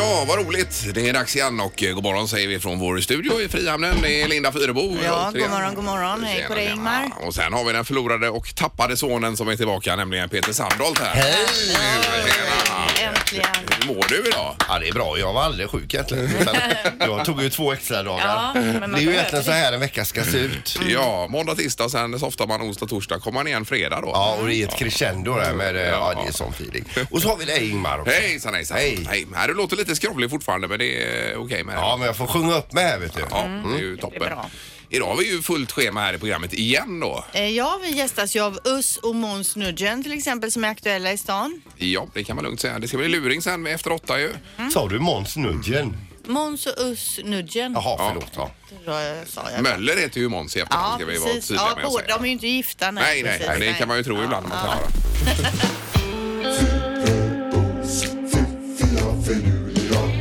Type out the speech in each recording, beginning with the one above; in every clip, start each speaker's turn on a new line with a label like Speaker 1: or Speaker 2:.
Speaker 1: Eh, roligt. Det är dags igen och eh, god morgon säger vi från vår studio i Frihamnen. Det är Linda Fyrebo.
Speaker 2: Ja,
Speaker 1: Återigen.
Speaker 2: god morgon, god morgon. Hej på dig,
Speaker 1: Tjena,
Speaker 2: Ingmar.
Speaker 1: tjena. Och sen har vi den förlorade och tappade sonen som är tillbaka, nämligen Peter Sandholt här. Hej!
Speaker 2: Äntligen.
Speaker 1: Hur mår du idag?
Speaker 3: Ja, det är bra. Jag var aldrig sjuk egentligen. Utan Jag tog ju två extra dagar.
Speaker 2: Ja, men man Mm.
Speaker 3: det är ju
Speaker 2: behöver
Speaker 3: egentligen så
Speaker 2: det.
Speaker 3: här en vecka ska se ut.
Speaker 1: Ja, måndag, tisdag, sen softar man onsdag, torsdag. Kommer man igen fredag då?
Speaker 3: Ja, och det är ett crescendo där med... eh, Ja, det är sån feeling. Och så har vi dig Ingmar också.
Speaker 1: Hejsan, hejsan.
Speaker 3: Hej.
Speaker 1: Hej. Nej, du låter lite skrovlig fortfarande, men det är eh, okej med det.
Speaker 3: Ja, men jag får sjunga upp med här vet du.
Speaker 1: Ja, det är ju toppen.
Speaker 2: Mm. bra.
Speaker 1: Idag har vi ju fullt schema här i programmet igen då.
Speaker 2: Eh, Ja, vi gästas ju av Us och Måns Nudgen till exempel som är aktuella i stan.
Speaker 1: Ja, det kan man lugnt säga. Det ska bli luring sen efter åtta ju.
Speaker 3: Sa du Måns Nudgen?
Speaker 2: Måns och Us Nudgen.
Speaker 3: Jaha, förlåt. Ja.
Speaker 2: Då sa jag.
Speaker 1: Möller heter ju Måns i efternamn
Speaker 2: Ja,
Speaker 1: ska vi vara
Speaker 2: precis.
Speaker 1: tydliga
Speaker 2: Ja,
Speaker 1: med att
Speaker 2: båda,
Speaker 1: säga.
Speaker 2: de är ju inte gifta.
Speaker 1: Nej, nej,
Speaker 2: precis.
Speaker 1: det kan man ju tro ibland. när Man
Speaker 2: Ja.
Speaker 1: ja.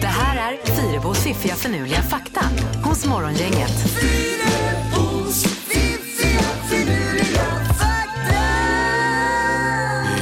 Speaker 4: Det här är Fyrabos fiffiga förnuliga fakta hos Morgongänget.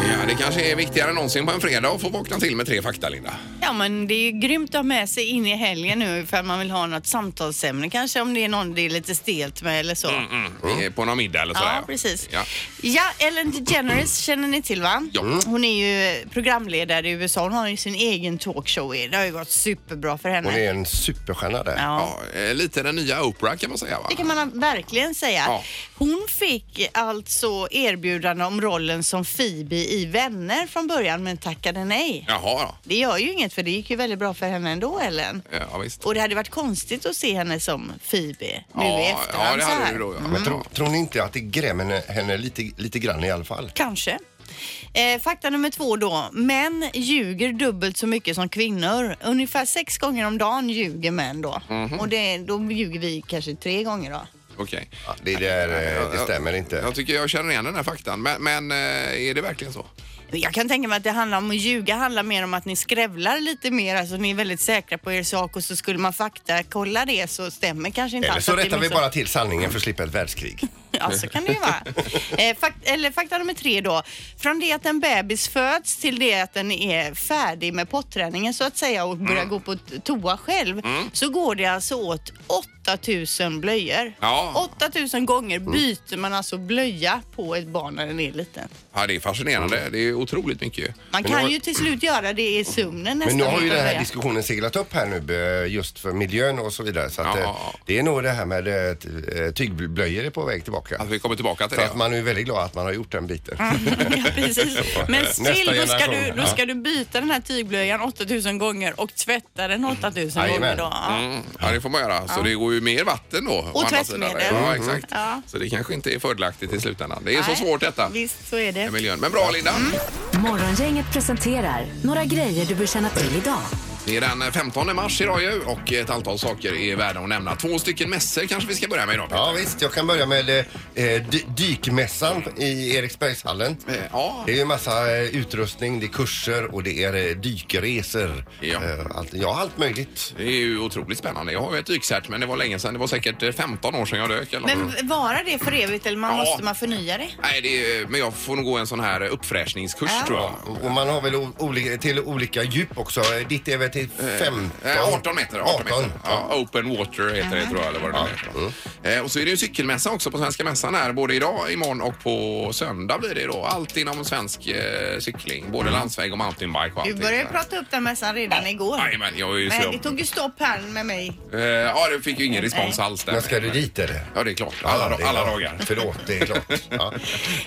Speaker 1: ja, det kanske är viktigare än någonsin på en fredag att få vakna till med tre fakta, Linda.
Speaker 2: Ja, men det är grymt att ha med sig in i helgen nu ifall man vill ha något samtalsämne kanske om det är någon det är lite stelt med eller så.
Speaker 1: Eh, På någon middag eller sådär.
Speaker 2: Mm. Ja, precis.
Speaker 1: Ja.
Speaker 2: Ja. Ellen DeGeneres känner ni till va?
Speaker 1: Ja.
Speaker 2: Hon är ju programledare i USA. Hon har ju sin egen talkshow. Det har ju gått superbra för henne.
Speaker 3: Hon är en superstjärna där.
Speaker 2: Ja.
Speaker 1: Ja, eh, lite den nya Oprah kan man säga va?
Speaker 2: Det kan man verkligen säga.
Speaker 1: Ja.
Speaker 2: Hon fick alltså erbjudande om rollen som Phoebe i Vänner från början men tackade nej.
Speaker 1: Jaha,
Speaker 2: Det gör ju inget för det gick ju väldigt bra för henne ändå Ellen.
Speaker 1: ja. ja visst.
Speaker 2: Och det hade varit konstigt att se henne som Phoebe nu i
Speaker 1: ja,
Speaker 2: efterhand
Speaker 1: ja, det
Speaker 2: så
Speaker 1: hade
Speaker 2: här. Mm.
Speaker 1: du då. Ja.
Speaker 3: Men tror, tror ni inte att det grämer henne- henne lite, lite grann i alla fall?
Speaker 2: Kanske. Eh, fakta nummer två då. Män ljuger dubbelt så mycket som kvinnor. Ungefär sex gånger om dagen ljuger män då.
Speaker 3: Mhm.
Speaker 2: Och det, då ljuger vi kanske tre gånger då.
Speaker 1: Okej.
Speaker 3: Ja, det, där, eh, det stämmer inte.
Speaker 1: Jag tycker jag känner igen den här faktan, men, men eh, är det verkligen så?
Speaker 2: Jag kan tänka mig att det handlar om att ljuga handlar mer om att ni skrävlar lite mer, alltså ni är väldigt säkra på er sak och så skulle man fakta kolla det så stämmer kanske inte
Speaker 3: Eller
Speaker 2: alls
Speaker 3: så
Speaker 2: att det är
Speaker 3: rättar vi
Speaker 2: massa-
Speaker 3: bara till sanningen för att slippa ett världskrig.
Speaker 2: Ja, så kan det ju vara. Eh, fak eller fakta nummer tre då. Från det att en bebis föds till det att den är färdig med potträningen så att säga och börjar
Speaker 3: Mm.
Speaker 2: gå på t- toa själv så går det alltså åt 8000 blöjor.
Speaker 1: Ja.
Speaker 2: 8000 gånger
Speaker 3: Mm.
Speaker 2: byter man alltså blöja på ett barn när den är liten.
Speaker 1: Ja, det är
Speaker 3: Mm.
Speaker 1: fascinerande. Det är otroligt mycket.
Speaker 2: Man
Speaker 3: Men
Speaker 2: kan
Speaker 3: nu-
Speaker 2: ju till slut göra det i sömnen nästan.
Speaker 3: Men nu har ju
Speaker 2: utan
Speaker 3: den här
Speaker 2: blöja.
Speaker 3: diskussionen seglat upp här nu eh, just för miljön och så vidare. Så att,
Speaker 1: Ja.
Speaker 3: eh, Det är nog det här med eh, t- eh, tygblöjor är på väg tillbaka.
Speaker 1: Att vi kommer tillbaka till
Speaker 3: För
Speaker 1: det. Mm.
Speaker 3: att man är ju väldigt glad att man har gjort den biten.
Speaker 2: ja, precis. Men
Speaker 3: Nästa
Speaker 2: still, då ska, du,
Speaker 3: generation.
Speaker 2: då ska du byta den här tygblöjan 8000 gånger och tvätta den 8000 gånger
Speaker 3: Jajamän.
Speaker 2: då. Ja.
Speaker 1: Mm, ja, det får man göra. Så det går ju mer vatten då. å andra sidan.
Speaker 2: tvättmedel. Mm.
Speaker 1: Ja, exakt.
Speaker 2: Ja.
Speaker 1: Så det kanske inte är fördelaktigt i slutändan. Det är så
Speaker 2: Nej. Mm.
Speaker 1: svårt detta.
Speaker 2: Visst, så är det.
Speaker 1: med Miljön. Men bra Linda.
Speaker 4: Morgongänget presenterar några grejer du bör känna till idag.
Speaker 1: Det är den 15 mars idag ju och ett antal saker är värda att nämna. Två stycken mässor kanske vi ska börja med idag. Peter.
Speaker 3: Ja visst, jag kan börja med eh, eh, dy- dykmässan i Eriksbergshallen.
Speaker 1: Eh, Ja.
Speaker 3: Det är ju massa eh, utrustning, det är kurser och det är eh, dykresor.
Speaker 1: Ja.
Speaker 3: Eh, Allt, ja, allt möjligt.
Speaker 1: Det är ju otroligt spännande. Jag har ju ett dykcert men det var länge sedan. Det var säkert eh, 15 år sedan jag dök eller något.
Speaker 2: Men vara det för evigt eller man
Speaker 1: Ja.
Speaker 2: måste man förnya det?
Speaker 1: Nej, det är, men jag får nog gå en sån här uppfräschningskurs tror jag.
Speaker 3: Och och man har väl o- olika, till olika djup också. Eh, Ditt är väl till 15?
Speaker 1: Eh, 18 meter. 18 meter.
Speaker 3: 18,
Speaker 1: Ja, open water heter det tror jag. Eller vad det nu
Speaker 3: Mm.
Speaker 1: heter. Eh, och så är det ju cykelmässa också på Svenska Mässan här. Både idag, imorgon och på söndag blir det då. Allt inom svensk eh, cykling. Både
Speaker 3: Mm.
Speaker 1: landsväg och mountainbike och
Speaker 2: Du
Speaker 1: allting.
Speaker 2: började ju prata upp den mässan redan igår.
Speaker 1: Jajamän, jag är ju så...
Speaker 2: Men det tog ju stopp här med mig.
Speaker 1: Eh, ja, det fick ju ingen respons alls där.
Speaker 3: Men ska du dit eller?
Speaker 1: Ja, det är klart. Alla,
Speaker 3: Ja, det är
Speaker 1: alla
Speaker 3: klart.
Speaker 1: dagar.
Speaker 3: Förlåt, det är klart. Ja.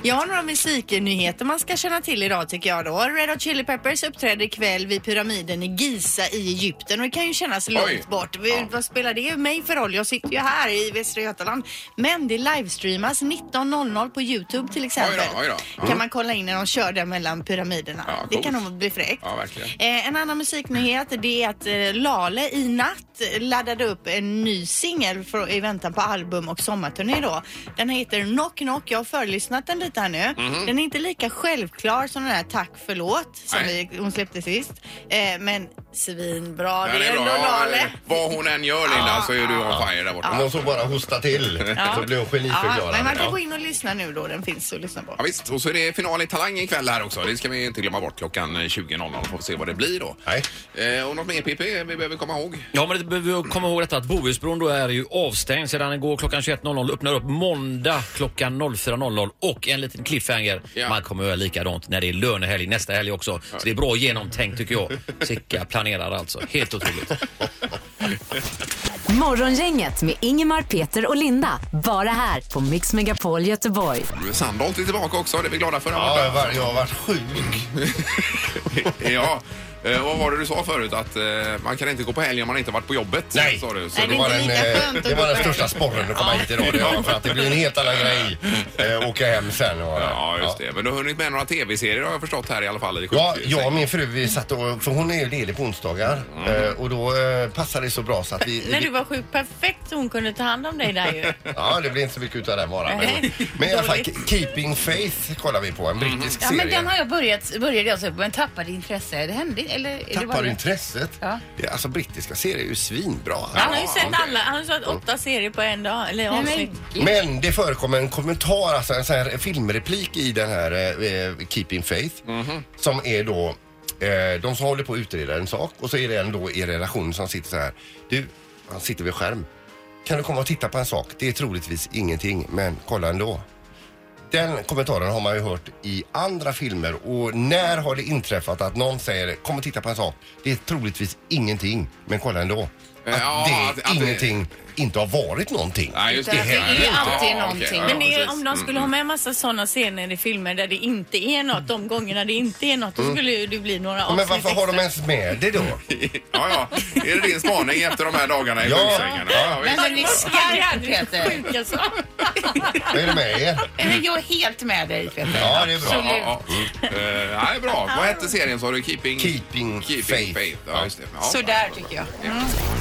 Speaker 2: Jag har några musiknyheter man ska känna till idag tycker jag då. Red Hot Chili Peppers uppträder ikväll vid pyramiden i Giza i Egypten och det kan ju kännas långt bort. Vi-
Speaker 1: Ja.
Speaker 2: Vad spelar det mig för roll? Jag sitter ju här i Västra Götaland. Men det livestreamas 19.00 på Youtube till exempel.
Speaker 1: Oj då, oj då.
Speaker 2: Kan man kolla in när de kör där mellan pyramiderna.
Speaker 1: Ja,
Speaker 2: det
Speaker 1: coolt.
Speaker 2: kan nog bli fräckt.
Speaker 1: Ja, verkligen.
Speaker 2: Eh, en annan musiknyhet det är att eh, Lale i natt laddade upp en ny singel för- i väntan på album och sommarturné då. Den heter Knock Knock. Jag har förlyssnat den lite här nu. Den är inte lika självklar som den här Tack förlåt som
Speaker 1: Nej.
Speaker 2: vi, hon släppte sist. Eh, men s- svinbra.
Speaker 1: Ja, eh,
Speaker 2: det är ändå Ah. Lale.
Speaker 1: Vad hon än gör Linda så är du on fire där
Speaker 3: Om
Speaker 1: borta.
Speaker 3: hon så bara hostar till
Speaker 2: Ja.
Speaker 3: så blir hon
Speaker 2: Ja, men man
Speaker 3: geniförklarad.
Speaker 2: kan gå in och lyssna nu då. Den finns att lyssna på.
Speaker 1: Ja, visst, och så är det final i Talang ikväll här också. Det ska vi inte glömma bort klockan eh, 20.00. Får vi se vad det blir då.
Speaker 3: Nej.
Speaker 1: Eh, och något mer PP vi behöver komma ihåg?
Speaker 5: Ja, men det behöver vi komma ihåg detta att Bohusbron då är ju avstängd sedan igår klockan 21.00. Öppnar upp måndag klockan 04.00 och en liten cliffhanger.
Speaker 1: Ja.
Speaker 5: Man kommer att göra likadant när det är lönehelg nästa helg också. Så det är bra genomtänkt tycker jag. Sicka planerar alltså. Helt otroligt.
Speaker 4: Morgongänget med Ingemar, Peter och Linda. Bara här på Mix Megapol Göteborg.
Speaker 1: Sandholt är tillbaka också. Det är vi glada för. där
Speaker 3: Ja,
Speaker 1: borta.
Speaker 3: jag, var, jag har varit sjuk.
Speaker 1: ja. Eh, vad var det du sa förut? Att eh, man kan inte gå på helg om man inte varit på jobbet?
Speaker 3: Nej.
Speaker 1: Sa du. Så
Speaker 2: Nej,
Speaker 1: det
Speaker 2: det
Speaker 1: var...
Speaker 3: var
Speaker 2: inte
Speaker 3: den,
Speaker 2: lika
Speaker 3: eh,
Speaker 2: skönt att
Speaker 3: det
Speaker 2: gå
Speaker 3: var den
Speaker 2: på
Speaker 3: största
Speaker 2: helg.
Speaker 3: sporren att komma hit idag. Det var för att det blir en helt annan grej. Eh, åka hem sen och...
Speaker 1: Ja, just det. Men du har hunnit med några tv-serier har jag förstått här i alla fall. I
Speaker 3: Ja,
Speaker 1: sjuk-
Speaker 3: jag och min fru vi satt och, för hon är ju ledig på onsdagar eh, och då eh, passade det så bra så att vi...
Speaker 6: När du var sjuk, perfekt hon kunde ta hand om dig där ju.
Speaker 3: Ja, det blir inte så mycket utav den varan. Men,
Speaker 6: Nej.
Speaker 3: men i alla fall,
Speaker 6: Dåligt.
Speaker 3: Keeping Faith kollar vi på, en brittisk
Speaker 6: Ja,
Speaker 3: serie.
Speaker 6: men den har jag börjat, började jag se på, men tappade intresse. Det hände eller är det bara
Speaker 3: Tappar
Speaker 6: det?
Speaker 3: intresset.
Speaker 6: Ja.
Speaker 3: Det är, alltså brittiska serier är ju svinbra.
Speaker 6: Han har ju sett
Speaker 1: okej.
Speaker 6: alla, han har sett åtta serier på en dag, eller
Speaker 2: men-
Speaker 6: avsnitt.
Speaker 3: Men det förekommer en kommentar, alltså en sån här filmreplik i den här eh, Keeping Faith
Speaker 1: Mhm.
Speaker 3: som är då eh, de som håller på att utreda en sak och så är det en då i relation som sitter så här. Du, han sitter vid skärm. Kan du komma och titta på en sak? Det är troligtvis ingenting, men kolla ändå. Den kommentaren har man ju hört i andra filmer och när har det inträffat att någon säger kom och titta på en sak. Det är troligtvis ingenting, men kolla ändå. Att
Speaker 1: Ja, att-
Speaker 3: det
Speaker 1: att det-
Speaker 3: ingenting inte har varit någonting.
Speaker 1: Nej, just det.
Speaker 6: Utan att det
Speaker 1: Nej,
Speaker 6: är alltid
Speaker 1: ja,
Speaker 6: någonting.
Speaker 1: okej, ja,
Speaker 6: men det är,
Speaker 1: precis.
Speaker 6: om de skulle ha med massa sådana scener i filmer där det inte är något, de gångerna det inte är något, då skulle ju det bli några
Speaker 3: Ja,
Speaker 6: avsnitt
Speaker 3: Men varför har de
Speaker 6: extra.
Speaker 3: ens med det då?
Speaker 1: Mm. Ja, ja. Är det din spaning efter de här dagarna i
Speaker 3: Ja.
Speaker 1: sjuksängen? Ja,
Speaker 7: Men
Speaker 1: visst.
Speaker 7: hörni, skarp Peter.
Speaker 6: Sjuk alltså.
Speaker 3: Vad är det med er?
Speaker 7: Men Jag är helt med dig Peter.
Speaker 3: Ja, det är
Speaker 1: Ja,
Speaker 3: bra.
Speaker 1: ja, ja. Eh, nej, bra. Vad hette serien sa du? Keeping,
Speaker 3: Keeping Faith.
Speaker 1: Ja, just det. Ja.
Speaker 7: Sådär tycker jag.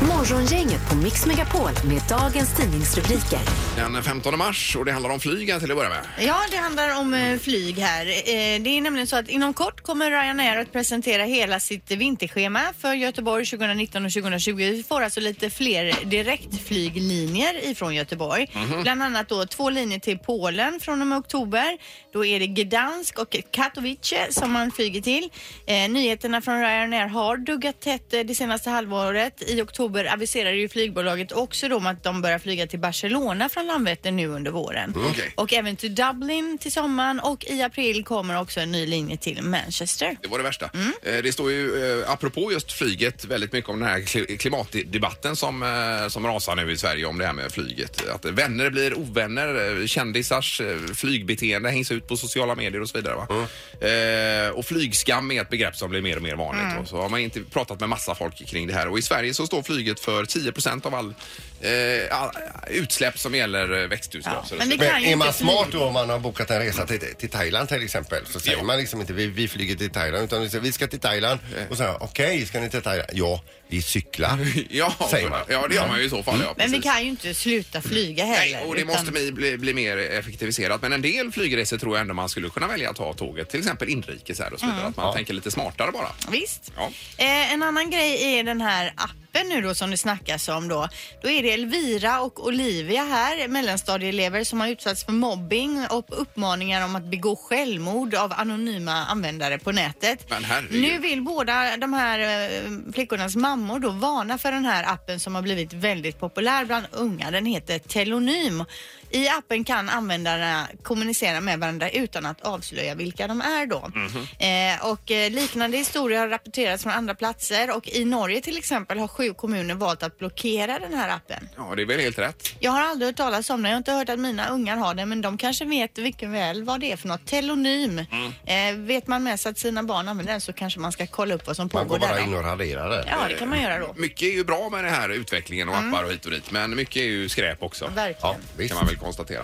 Speaker 4: Morgongänget på Mix Megapol med dagens tidningsrubriker.
Speaker 1: Den 15 mars och det handlar om flyg här till att börja med.
Speaker 2: Ja, det handlar om eh, flyg här. Eh, Det är nämligen så att inom kort kommer Ryanair att presentera hela sitt vinterschema för Göteborg 2019 och 2020. Vi får alltså lite fler direktflyglinjer ifrån Göteborg. Bland annat då två linjer till Polen från och med oktober. Då är det Gdansk och Katowice som man flyger till. Eh, nyheterna från Ryanair har duggat tätt eh, det senaste halvåret. I oktober aviserade ju flygbolaget också då om att de börjar flyga till Barcelona från Landvetter nu under våren.
Speaker 1: Okej.
Speaker 2: Och även till Dublin till sommaren och i april kommer också en ny linje till Manchester.
Speaker 1: Det var det värsta.
Speaker 2: Mm.
Speaker 1: Eh, Det står ju, eh, apropå just flyget, väldigt mycket om den här kli- klimatdebatten som, eh, som rasar nu i Sverige om det här med flyget. Att vänner blir ovänner, eh, kändisars eh, flygbeteende hängs ut på sociala medier och så vidare. Va?
Speaker 2: Mm.
Speaker 1: Eh, och flygskam är ett begrepp som blir mer och mer vanligt. Och så har man inte pratat med massa folk kring det här. Och i Sverige så står flyget för 10 av all, eh, all utsläpp som gäller eh, växthusgaser.
Speaker 2: men det
Speaker 1: och så.
Speaker 2: kan
Speaker 3: Men
Speaker 2: ju
Speaker 3: är man
Speaker 2: inte
Speaker 3: smart då om man har bokat en resa till, till Thailand till exempel så säger man liksom inte vi, vi flyger till Thailand utan vi säger vi ska till Thailand
Speaker 1: Eh.
Speaker 3: och så säger okej ska ni till Thailand? Ja, vi cyklar.
Speaker 1: Ja,
Speaker 3: säger man.
Speaker 1: ja, det gör man ju i så fall. Ja,
Speaker 2: Mm. Men vi
Speaker 1: precis.
Speaker 2: kan ju inte sluta flyga heller.
Speaker 1: Nej, och det
Speaker 2: utan-
Speaker 1: måste bli, bli, bli mer effektiviserat. Men en del flygresor tror jag ändå man skulle kunna välja att ta tåget, till exempel inrikes här och så vidare.
Speaker 2: Mm.
Speaker 1: Att man tänker lite smartare bara.
Speaker 2: Visst.
Speaker 1: Ja.
Speaker 2: Eh, en annan grej är den här appen nu då som det snackas om då. Då är det Elvira och Olivia här, mellanstadieelever som har utsatts för mobbing och uppmaningar om att begå självmord av anonyma användare på nätet.
Speaker 1: Men herregud.
Speaker 2: nu vill båda de här eh, flickornas mammor då varna för den här appen som har blivit väldigt populär bland unga. Den heter Telonym. I appen kan användarna kommunicera med varandra utan att avslöja vilka de är då.
Speaker 1: Mhm.
Speaker 2: eh, och eh, liknande historier har rapporterats från andra platser och i Norge till exempel har sju kommuner valt att blockera den här appen.
Speaker 1: Ja, det är väl helt rätt.
Speaker 2: Jag har aldrig hört talas om den. Jag har inte hört att mina ungar har den, men de kanske vet mycket väl vad det är för något. Telonym.
Speaker 3: Mm.
Speaker 2: Eh, vet man med sig att sina barn använder den så kanske man ska kolla upp vad som
Speaker 3: Man
Speaker 2: pågår där.
Speaker 3: går bara
Speaker 2: då.
Speaker 3: in och raderar det.
Speaker 2: Ja, det kan man göra då.
Speaker 1: Mycket är ju bra med den här utvecklingen och appar och hit och dit, men mycket är ju skräp också.
Speaker 2: Mm. Verkligen.
Speaker 3: Ja,
Speaker 1: Det
Speaker 3: visst.
Speaker 1: kan man väl konstatera.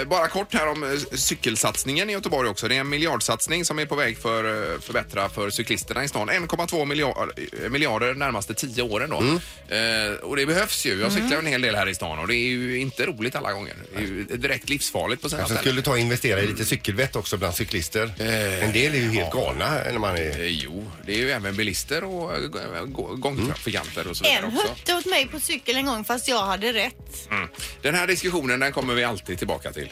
Speaker 1: Eh, bara kort här om eh, cykelsatsningen i Göteborg också. Det är en miljardsatsning som är på väg för eh, förbättra för cyklisterna i stan. 1,2 miljard, eh, miljarder närmaste tio senaste åren då. Eh, och det behövs ju. Jag cyklar ju en hel del här i stan och det är ju inte roligt alla gånger. Det är ju direkt livsfarligt på sina
Speaker 3: Kanske
Speaker 1: ställen.
Speaker 3: skulle ta och investera i lite cykelvett också bland cyklister.
Speaker 1: Eh,
Speaker 3: En del är ju helt galna när man är...
Speaker 1: Eh, Jo, det är ju även bilister och eh, gå- gångtrafikanter och så
Speaker 3: Eh,
Speaker 1: vidare
Speaker 2: Mm. En
Speaker 1: också.
Speaker 2: hötte åt mig på cykel en gång fast jag hade rätt.
Speaker 1: Mm. Den här diskussionen den kommer vi alltid tillbaka till.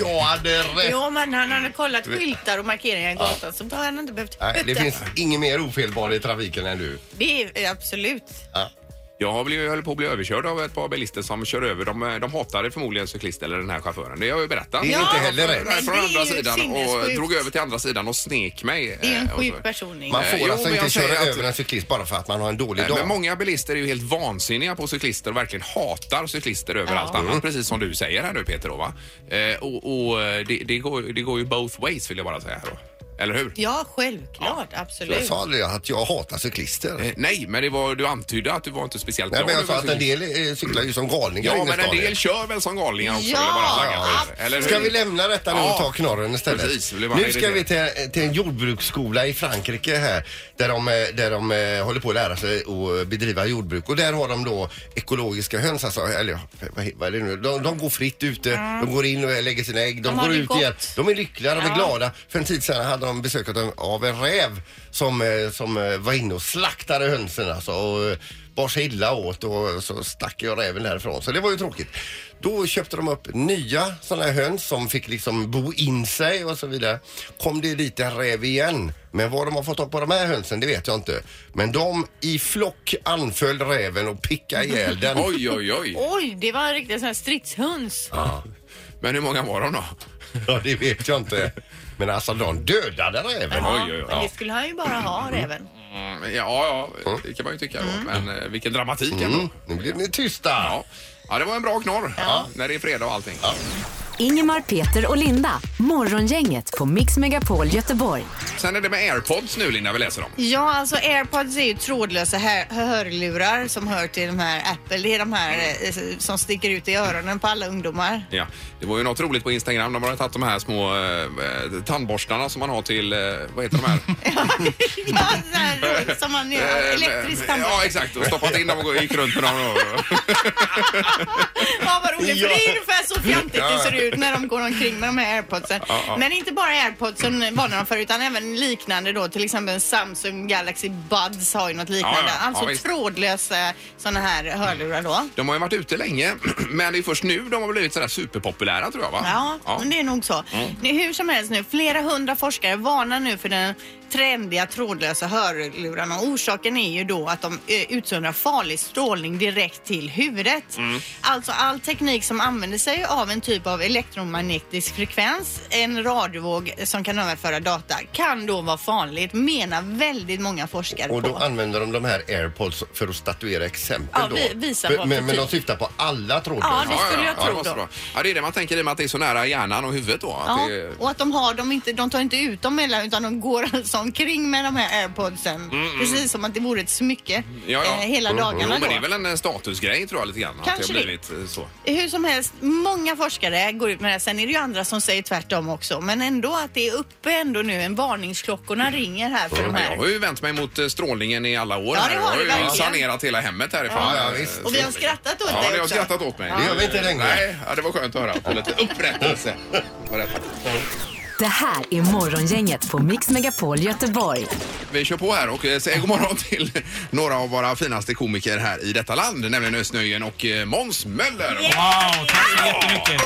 Speaker 3: Jag hade rätt!
Speaker 2: Jo, men han hade kollat skyltar och markeringar i gatan så då hade han inte behövt
Speaker 3: Nej, det
Speaker 2: hötta.
Speaker 3: finns ingen mer ofelbar i trafiken än du.
Speaker 2: Det är absolut.
Speaker 3: Ja.
Speaker 1: Jag har blivit, jag höll på att bli överkörd av ett par bilister som kör över. De, eh, de hatade förmodligen cyklisten eller den här chauffören. Det har jag ju berättat.
Speaker 3: Det är inte heller
Speaker 1: Jag var
Speaker 3: rätt.
Speaker 2: men
Speaker 1: från
Speaker 2: det är
Speaker 1: andra
Speaker 2: ju
Speaker 1: sidan och
Speaker 2: sinnessjukt.
Speaker 1: drog över till andra sidan och snek mig.
Speaker 2: Det är ju en
Speaker 1: eh, och så.
Speaker 2: sjuk person.
Speaker 3: Man får
Speaker 1: Eh, jo,
Speaker 3: alltså
Speaker 1: men
Speaker 3: inte
Speaker 1: jag säger
Speaker 3: köra
Speaker 1: att-
Speaker 3: över en cyklist bara för att man har en dålig
Speaker 1: Nej,
Speaker 3: dag.
Speaker 1: Men många bilister är ju helt vansinniga på cyklister och verkligen hatar cyklister över allt annat. Precis som du säger här nu Peter. Då, va? Eh, och och eh, det, det, går, det går ju both ways vill jag bara säga. Här då. Eller hur?
Speaker 2: Ja, självklart. Absolut.
Speaker 3: Jag sa aldrig att jag hatar cyklister.
Speaker 1: Eh, Nej, men det var, du antydde att du var inte speciellt
Speaker 3: Nej, men jag
Speaker 1: över
Speaker 3: sa att en
Speaker 1: cyklist.
Speaker 3: del eh, cyklar ju som galningar
Speaker 1: Ja,
Speaker 3: inne i
Speaker 1: men en
Speaker 3: stan.
Speaker 1: del kör väl som galningar också.
Speaker 2: Ja,
Speaker 1: vill jag bara säga. Eller hur?
Speaker 3: Ska vi lämna detta nu och
Speaker 1: Ja.
Speaker 3: ta knorren istället?
Speaker 1: Precis, det blir bara
Speaker 3: nu ska
Speaker 1: irriterad.
Speaker 3: vi till, till en jordbruksskola i Frankrike här där de, eh, där de eh, håller på att lära sig att bedriva jordbruk och där har de då ekologiska höns, alltså, eller ja, vad, he- vad är det nu? De, de går fritt ute,
Speaker 1: Mm.
Speaker 3: de går in och lägger sina ägg, de,
Speaker 6: De har
Speaker 3: går
Speaker 6: det
Speaker 3: ut
Speaker 6: gott.
Speaker 3: igen. De är lyckliga, de är glada. För en tid sedan hade de besök av en- av en räv som, eh, som eh, var inne och slaktade hönsen alltså. Och, eh, bar sig illa åt och så stack jag räven därifrån. Så det var ju tråkigt. Då köpte de upp nya sådana här höns som fick liksom bo in sig och så vidare. Kom det dit en räv igen. Men vad de har fått tag på de här hönsen det vet jag inte. Men de i flock anföll räven och pickade ihjäl den.
Speaker 1: Oj, oj, oj.
Speaker 6: Oj, det var en riktig sån här stridshöns.
Speaker 1: Men hur många var de då?
Speaker 3: Ja, det vet jag inte. Men alltså de dödade räven.
Speaker 1: Oj, oj,
Speaker 2: Men
Speaker 1: oj.
Speaker 2: det skulle han ju bara ha även.
Speaker 1: Mm, Ja, ja, det kan man ju tycka. då. Men eh, vilken dramatik
Speaker 3: Mm,
Speaker 1: ändå.
Speaker 3: nu blev ni tysta.
Speaker 1: Ja. ja, det var en bra knorr. När det är fredag och allting.
Speaker 4: Ingemar, Peter och Linda. Morgongänget på Mix Megapol Göteborg.
Speaker 1: Sen är det med airpods nu, Linda, vi läser om.
Speaker 2: Ja, alltså airpods är ju trådlösa hör- hörlurar som hör till de här Apple. Det är de här eh, som sticker ut i öronen på alla ungdomar.
Speaker 1: Ja, det var ju något roligt på Instagram. De har tagit de här små eh, eh, tandborstarna som man har till, eh, vad heter de här?
Speaker 2: Ja, sån här, som man gör.
Speaker 1: Eh,
Speaker 2: Elektrisk
Speaker 1: Ja,
Speaker 2: tandborste.
Speaker 1: exakt. Och stoppat in dem och gick runt med dem.
Speaker 2: Ja, vad roligt. För det är ungefär så fjantigt
Speaker 1: Ja.
Speaker 2: det ser ut när de går omkring med de här airpodsen.
Speaker 1: Ja, ja.
Speaker 2: Men inte bara airpodsen var de för utan även liknande då. Till exempel en Samsung Galaxy Buds har ju något liknande.
Speaker 1: Ja, ja. Ja,
Speaker 2: Alltså
Speaker 1: visst.
Speaker 2: trådlösa såna här hörlurar då.
Speaker 1: De har ju varit ute länge, men det är först nu de har blivit sådär superpopulära tror jag va?
Speaker 2: Ja, men det är nog så. Det är hur som helst nu, flera hundra forskare varnar nu för den trendiga trådlösa hörlurarna. Orsaken är ju då att de eh, utsöndrar farlig strålning direkt till huvudet. Alltså all teknik som använder sig av en typ av elektromagnetisk frekvens, en radiovåg som kan överföra data, kan då vara farligt menar väldigt många forskare
Speaker 3: Och då
Speaker 2: på.
Speaker 3: använder de de här airpods för att statuera exempel
Speaker 6: Ja,
Speaker 3: då.
Speaker 6: vi- visa
Speaker 3: För-
Speaker 6: vad för
Speaker 3: men, men de
Speaker 6: typ.
Speaker 3: syftar på alla
Speaker 6: Ja,
Speaker 3: trådlösa.
Speaker 6: det skulle jag tro
Speaker 1: det var så
Speaker 6: då.
Speaker 1: bra. Ja, det är det man tänker i och med att det är så nära hjärnan och huvudet då. Att
Speaker 2: Ja,
Speaker 1: det är...
Speaker 2: och att de har dem inte, de tar inte ut dem heller utan de går alltså omkring med de här airpodsen. Precis som att det vore ett smycke
Speaker 1: Mm, Ja, ja. Mm,
Speaker 2: eh, hela
Speaker 1: Jo,
Speaker 2: dagarna
Speaker 1: men det är
Speaker 2: då.
Speaker 1: väl en eh, statusgrej tror jag lite grann. att
Speaker 2: Kanske
Speaker 1: det.
Speaker 2: det.
Speaker 1: Har blivit eh, så.
Speaker 2: Hur som helst, många forskare går ut med det här. Sen är det ju andra som säger tvärtom också. Men ändå att det är uppe ändå nu, en varningsklockorna ringer här för de
Speaker 1: Men jag
Speaker 2: här.
Speaker 1: Mm. har ju vänt mig mot eh, strålningen i alla år.
Speaker 2: Ja,
Speaker 1: här.
Speaker 2: det
Speaker 1: jag
Speaker 2: har du
Speaker 1: ju
Speaker 2: verkligen.
Speaker 1: sanerat hela hemmet härifrån.
Speaker 3: Ja, ja, visst.
Speaker 2: Och vi har skrattat åt
Speaker 1: Ja,
Speaker 2: dig
Speaker 1: ni har
Speaker 2: också.
Speaker 1: skrattat åt mig.
Speaker 3: Det gör vi inte längre.
Speaker 1: Nej, ja, det var skönt att höra. Få lite upprättelse. Var rätt.
Speaker 4: Det här är Morgongänget på Mix Megapol Göteborg.
Speaker 1: Vi kör på här och eh, säger god morgon till några av våra finaste komiker här i detta land, nämligen Ösnöjen och eh, Måns Möller.
Speaker 8: Wow, tack så jättemycket.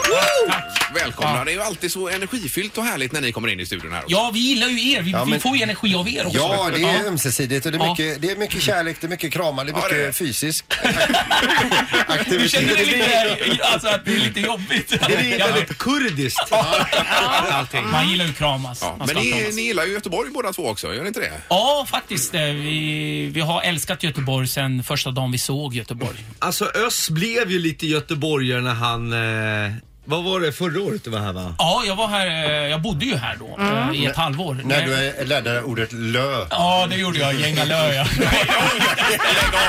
Speaker 1: Välkomna! Det är ju alltid så energifyllt och härligt när ni kommer in i studion här. också.
Speaker 8: Ja, vi gillar ju er. Vi,
Speaker 3: Ja, men-
Speaker 8: vi får ju energi av er också.
Speaker 3: Ja, det är ömsesidigt och det är
Speaker 8: Ja.
Speaker 3: mycket, det är mycket kärlek, det är mycket kramar, det är
Speaker 1: Ja,
Speaker 3: mycket
Speaker 1: det är det.
Speaker 3: fysisk
Speaker 8: Du
Speaker 3: aktivitet.
Speaker 8: känner det lite, alltså, att det är lite jobbigt. Ja,
Speaker 9: kurdiskt.
Speaker 8: men- man gillar ju kramas.
Speaker 1: Ja,
Speaker 8: Man
Speaker 1: men
Speaker 8: ska
Speaker 1: ni,
Speaker 8: kramas.
Speaker 1: ni gillar ju Göteborg båda två också, gör ni inte det?
Speaker 8: Ja, faktiskt. eh, Vi, vi har älskat Göteborg sedan första dagen vi såg Göteborg.
Speaker 9: Alltså Öss blev ju lite göteborgare när han... Eh, vad var det förra året du var här va?
Speaker 8: Ja, jag var här, eh, jag bodde ju här då eh, i ett halvår.
Speaker 3: När du är- lärde dig ordet lö.
Speaker 8: Ja, det gjorde jag. Gängalö, ja.
Speaker 1: Lägg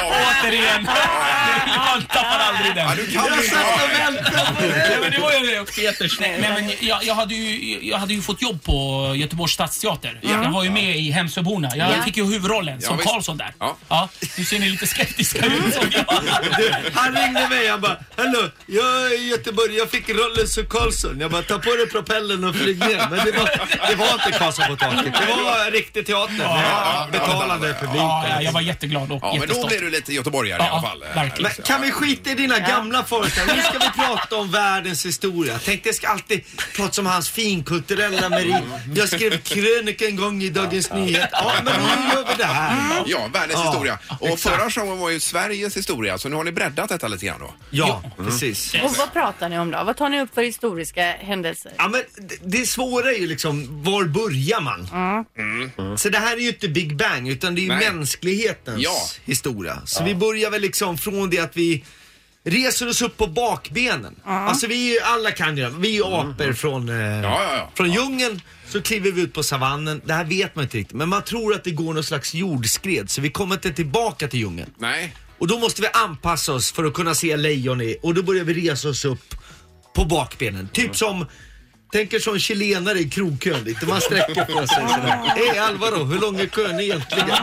Speaker 1: av!
Speaker 8: Återigen! Man tappar aldrig den.
Speaker 1: Ja, du kan ju inte ha det.
Speaker 8: Nej, men det var ju också jättesnällt. Nej, men jag, jag, hade ju, jag hade ju fått jobb på Göteborgs stadsteater. Jag var ju med i Hemsöborna. Jag fick ju huvudrollen som
Speaker 1: visst.
Speaker 8: Karlsson där.
Speaker 1: Ja.
Speaker 8: nu ser ni lite skeptiska ut såg jag.
Speaker 9: Du, han ringde mig han bara Hallå, jag är i Göteborg, jag fick rollen som Karlsson. Jag bara ta på dig propellen och flyg ner. Men det var, det var inte Karlsson på taket. Det var riktig teater.
Speaker 1: ja,
Speaker 9: Ja, betalande
Speaker 1: ja,
Speaker 9: publik.
Speaker 8: Ja, ja, jag var jätteglad och
Speaker 1: Ja, men då
Speaker 8: jättestolt.
Speaker 1: blir du lite göteborgare i
Speaker 8: Ja,
Speaker 1: alla fall.
Speaker 8: ja, verkligen.
Speaker 9: Men kan vi skita i dina gamla föreställningar? Nu ska vi prata om världens historia. Tänk, det ska alltid prata om hans finkulturella merit. Jag skrev krönika en gång i Dagens Nyheter. Ja, men nu gör vi det här.
Speaker 1: Ja, världens
Speaker 9: Ja,
Speaker 1: historia. Och
Speaker 9: exakt.
Speaker 1: förra showen var ju Sveriges historia, så nu har ni breddat detta lite grann då.
Speaker 9: Ja, precis.
Speaker 2: Och vad pratar ni om då? Vad tar ni upp för historiska händelser?
Speaker 9: Ja, men det- det svåra är ju liksom, var börjar man? Så det här är ju inte Big Bang utan det är ju
Speaker 1: Mm. Nej.
Speaker 9: mänsklighetens
Speaker 1: Ja.
Speaker 9: historia. Så vi börjar väl liksom från det att vi reser oss upp på bakbenen. Alltså vi är ju, alla kan ju det. Vi är apor från, eh,
Speaker 1: Mm. ja, ja.
Speaker 9: från djungeln. Så kliver vi ut på savannen. Det här vet man inte riktigt. Men man tror att det går någon slags jordskred så vi kommer inte tillbaka till djungeln.
Speaker 1: Nej.
Speaker 9: Och då måste vi anpassa oss för att kunna se lejon i. Och då börjar vi resa oss upp på bakbenen. Typ som Tänker som chilenare i krogkön lite. Man sträcker på sig sådär. Hej Alvaro, hur lång är kön egentligen? Det-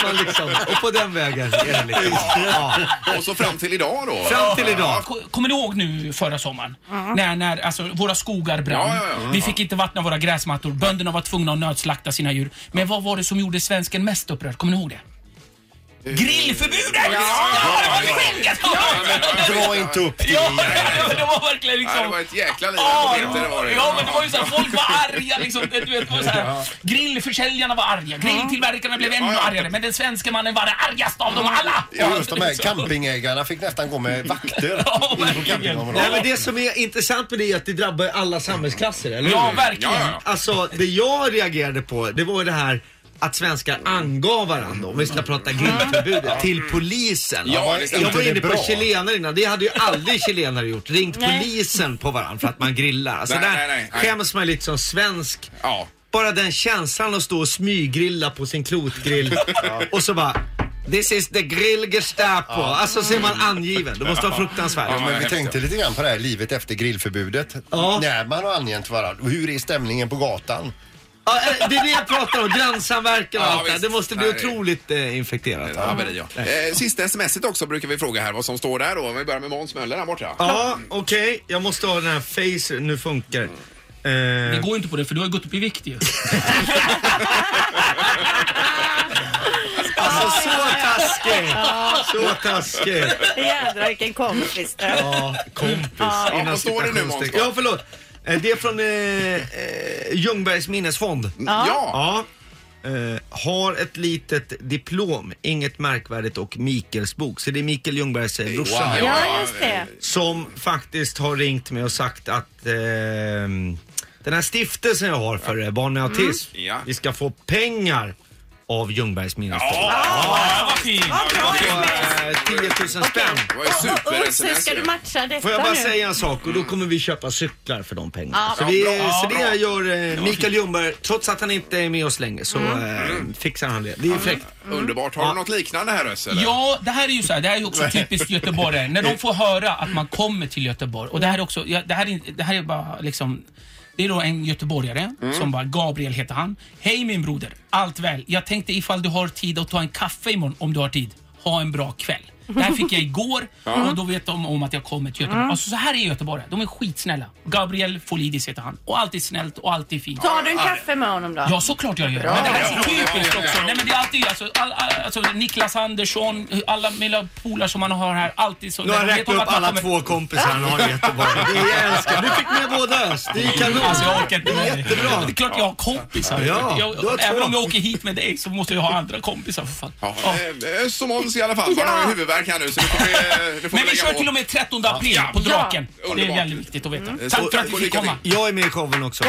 Speaker 9: Så man liksom, och på den vägen är det liksom. Ja.
Speaker 1: Och så fram till idag då.
Speaker 9: Fram till idag.
Speaker 8: Ko- Kommer ni ihåg nu förra sommaren? När, när alltså, våra skogar brann.
Speaker 1: Ja, ja, ja.
Speaker 8: Vi fick inte vattna våra gräsmattor. Bönderna var tvungna att nödslakta sina djur. Men vad var det som gjorde svensken mest upprörd? Kommer ni ihåg det?
Speaker 1: Eh,
Speaker 8: Grillförbudet! Ja, det var skämtet! Ja,
Speaker 3: Dra inte upp det.
Speaker 8: ja, ja, det var verkligen
Speaker 1: Nej, det
Speaker 8: liksom...
Speaker 1: var ett jäkla liv.
Speaker 8: Ja,
Speaker 1: på Peter, var det.
Speaker 8: ja, men det var ju såhär, folk var arga liksom. Du vet, det var såhär, grillförsäljarna var arga, grilltillverkarna blev ännu
Speaker 1: Ja, ja.
Speaker 8: argare, men den svenska mannen var den argaste av dem alla.
Speaker 1: Ja,
Speaker 3: Och just de här campingägarna fick nästan gå med vakter.
Speaker 8: Ja,
Speaker 3: inne på
Speaker 8: verkligen.
Speaker 3: campingområdet.
Speaker 9: Nej, men det som är intressant med det är att det drabbar alla samhällsklasser, eller hur?
Speaker 8: Ja, verkligen.
Speaker 1: Ja, ja.
Speaker 9: Alltså det jag reagerade på det var ju det här att svenskar angav varandra, om vi ska prata grillförbudet, till polisen.
Speaker 1: Ja,
Speaker 9: jag,
Speaker 1: det
Speaker 9: var,
Speaker 1: stämmer.
Speaker 9: jag var
Speaker 3: Det
Speaker 9: inne
Speaker 3: är
Speaker 9: på
Speaker 3: bra.
Speaker 9: chilenare innan, det hade ju aldrig chilenare gjort. Ringt
Speaker 2: Nej.
Speaker 9: polisen på varandra för att man grillar. Alltså
Speaker 1: Nej,
Speaker 9: där
Speaker 1: nej, nej, nej.
Speaker 9: skäms man lite som svensk.
Speaker 1: Ja.
Speaker 9: Bara den känslan att stå och smyggrilla på sin klotgrill och så bara This is the grill Gestapo. Alltså så är man angiven. Det måste vara fruktansvärt.
Speaker 1: Ja,
Speaker 3: Men vi
Speaker 1: hemskt.
Speaker 3: tänkte lite grann på det här livet efter grillförbudet.
Speaker 9: Ja.
Speaker 3: När man har angett varandra. och Hur är stämningen på gatan?
Speaker 9: Ja, eh, det är det jag pratar om. Grannsamverkan och
Speaker 1: Ja,
Speaker 9: allt det här.
Speaker 1: visst.
Speaker 9: Det måste bli
Speaker 1: Nej.
Speaker 9: otroligt eh, infekterat.
Speaker 1: Ja, men det, ja. Eh, Sista smset också brukar vi fråga här vad som står där då. Om vi börjar med Måns Möller där borta.
Speaker 9: Ja, okej. Jag måste ha den här face nu funkar.
Speaker 8: Det
Speaker 9: Eh,
Speaker 8: går ju inte på det för du har ju gått upp i vikt ju.
Speaker 9: alltså så taskig! Så taskig!
Speaker 2: Jädrar vilken kompis.
Speaker 9: Ja, kompis.
Speaker 1: Ja, vad står det nu, Måns?
Speaker 9: Ja, förlåt. Eh, Det är från eh, eh, Ljungbergs minnesfond.
Speaker 1: Ja.
Speaker 9: Ja. Eh, har ett litet diplom, inget märkvärdigt och Mikels bok. Så det är Mikael Ljungbergs eh, brorsa. här.
Speaker 2: Ja, just det.
Speaker 9: som faktiskt har ringt mig och sagt att ehm, den här stiftelsen jag har för eh, barn med
Speaker 8: Mm.
Speaker 9: autism,
Speaker 1: Ja.
Speaker 9: vi ska få pengar av Ljungbergs minnesfond.
Speaker 8: Ja, vad fint.
Speaker 9: Så, eh, 10 000 spänn.
Speaker 1: Det var ju
Speaker 2: Och och hur
Speaker 1: super-sms
Speaker 2: oh, ska du
Speaker 1: ju.
Speaker 2: matcha detta
Speaker 9: Får jag bara
Speaker 2: nu?
Speaker 9: säga en sak och då kommer vi köpa cyklar för de pengarna. så, vi, så det gör eh, Mikael Ljungberg, trots att han inte är med oss längre så
Speaker 8: Mm.
Speaker 9: eh, fixar han det. Det är fräckt.
Speaker 2: Mm.
Speaker 1: Underbart. Har du något liknande här Özz? eller?
Speaker 8: Ja, det här är ju så här, det här är ju också typiskt göteborgare. När de får höra att man kommer till Göteborg. Och det här är också, ja, det här är, det här är bara liksom det är då en göteborgare som bara, Gabriel heter han. Hej min broder, allt väl? Jag tänkte ifall du har tid att ta en kaffe imorgon om du har tid. Ha en bra kväll. Det här fick jag igår och då vet de om att jag kommer till Göteborg. Alltså så här är göteborgare, de är skitsnälla. Gabriel Folidis heter han. Och alltid snällt och alltid fint.
Speaker 2: Tar du en kaffe med honom då?
Speaker 8: Ja, såklart jag gör. Men det här är så typiskt också. Nej, men det är alltid, alltså, all, all, alltså, Niklas Andersson, alla mina polare som man har här, alltid så.
Speaker 9: Nu har
Speaker 8: de
Speaker 9: jag
Speaker 8: vet
Speaker 9: räknat
Speaker 8: om
Speaker 9: upp
Speaker 8: att man
Speaker 9: alla
Speaker 8: kommer-
Speaker 9: två kompisar han har i Göteborg. Det är jag älskar. Du fick med båda ös. Det är kanon.
Speaker 8: Alltså jag orkar inte
Speaker 9: Det är
Speaker 8: med det.
Speaker 9: jättebra.
Speaker 8: Det är klart jag har kompisar.
Speaker 9: Ja, du har
Speaker 8: jag,
Speaker 9: två.
Speaker 8: även om jag åker hit med dig så måste jag ha andra kompisar för fan.
Speaker 1: Ja,
Speaker 8: Ja.
Speaker 1: eh, Özz och Måns i alla fall. Man har ju huvudvärk här nu så nu får vi, eh, nu får
Speaker 8: Men
Speaker 1: vi
Speaker 8: vi kör
Speaker 1: lägga
Speaker 8: till och
Speaker 1: på.
Speaker 8: med 13 april
Speaker 1: Ja.
Speaker 8: på Draken. Det är
Speaker 1: Underbart. Mm.
Speaker 8: väldigt viktigt att veta.
Speaker 1: Så-
Speaker 8: Tack för att vi fick
Speaker 1: lycka till.
Speaker 8: komma.
Speaker 9: Jag är med i showen också.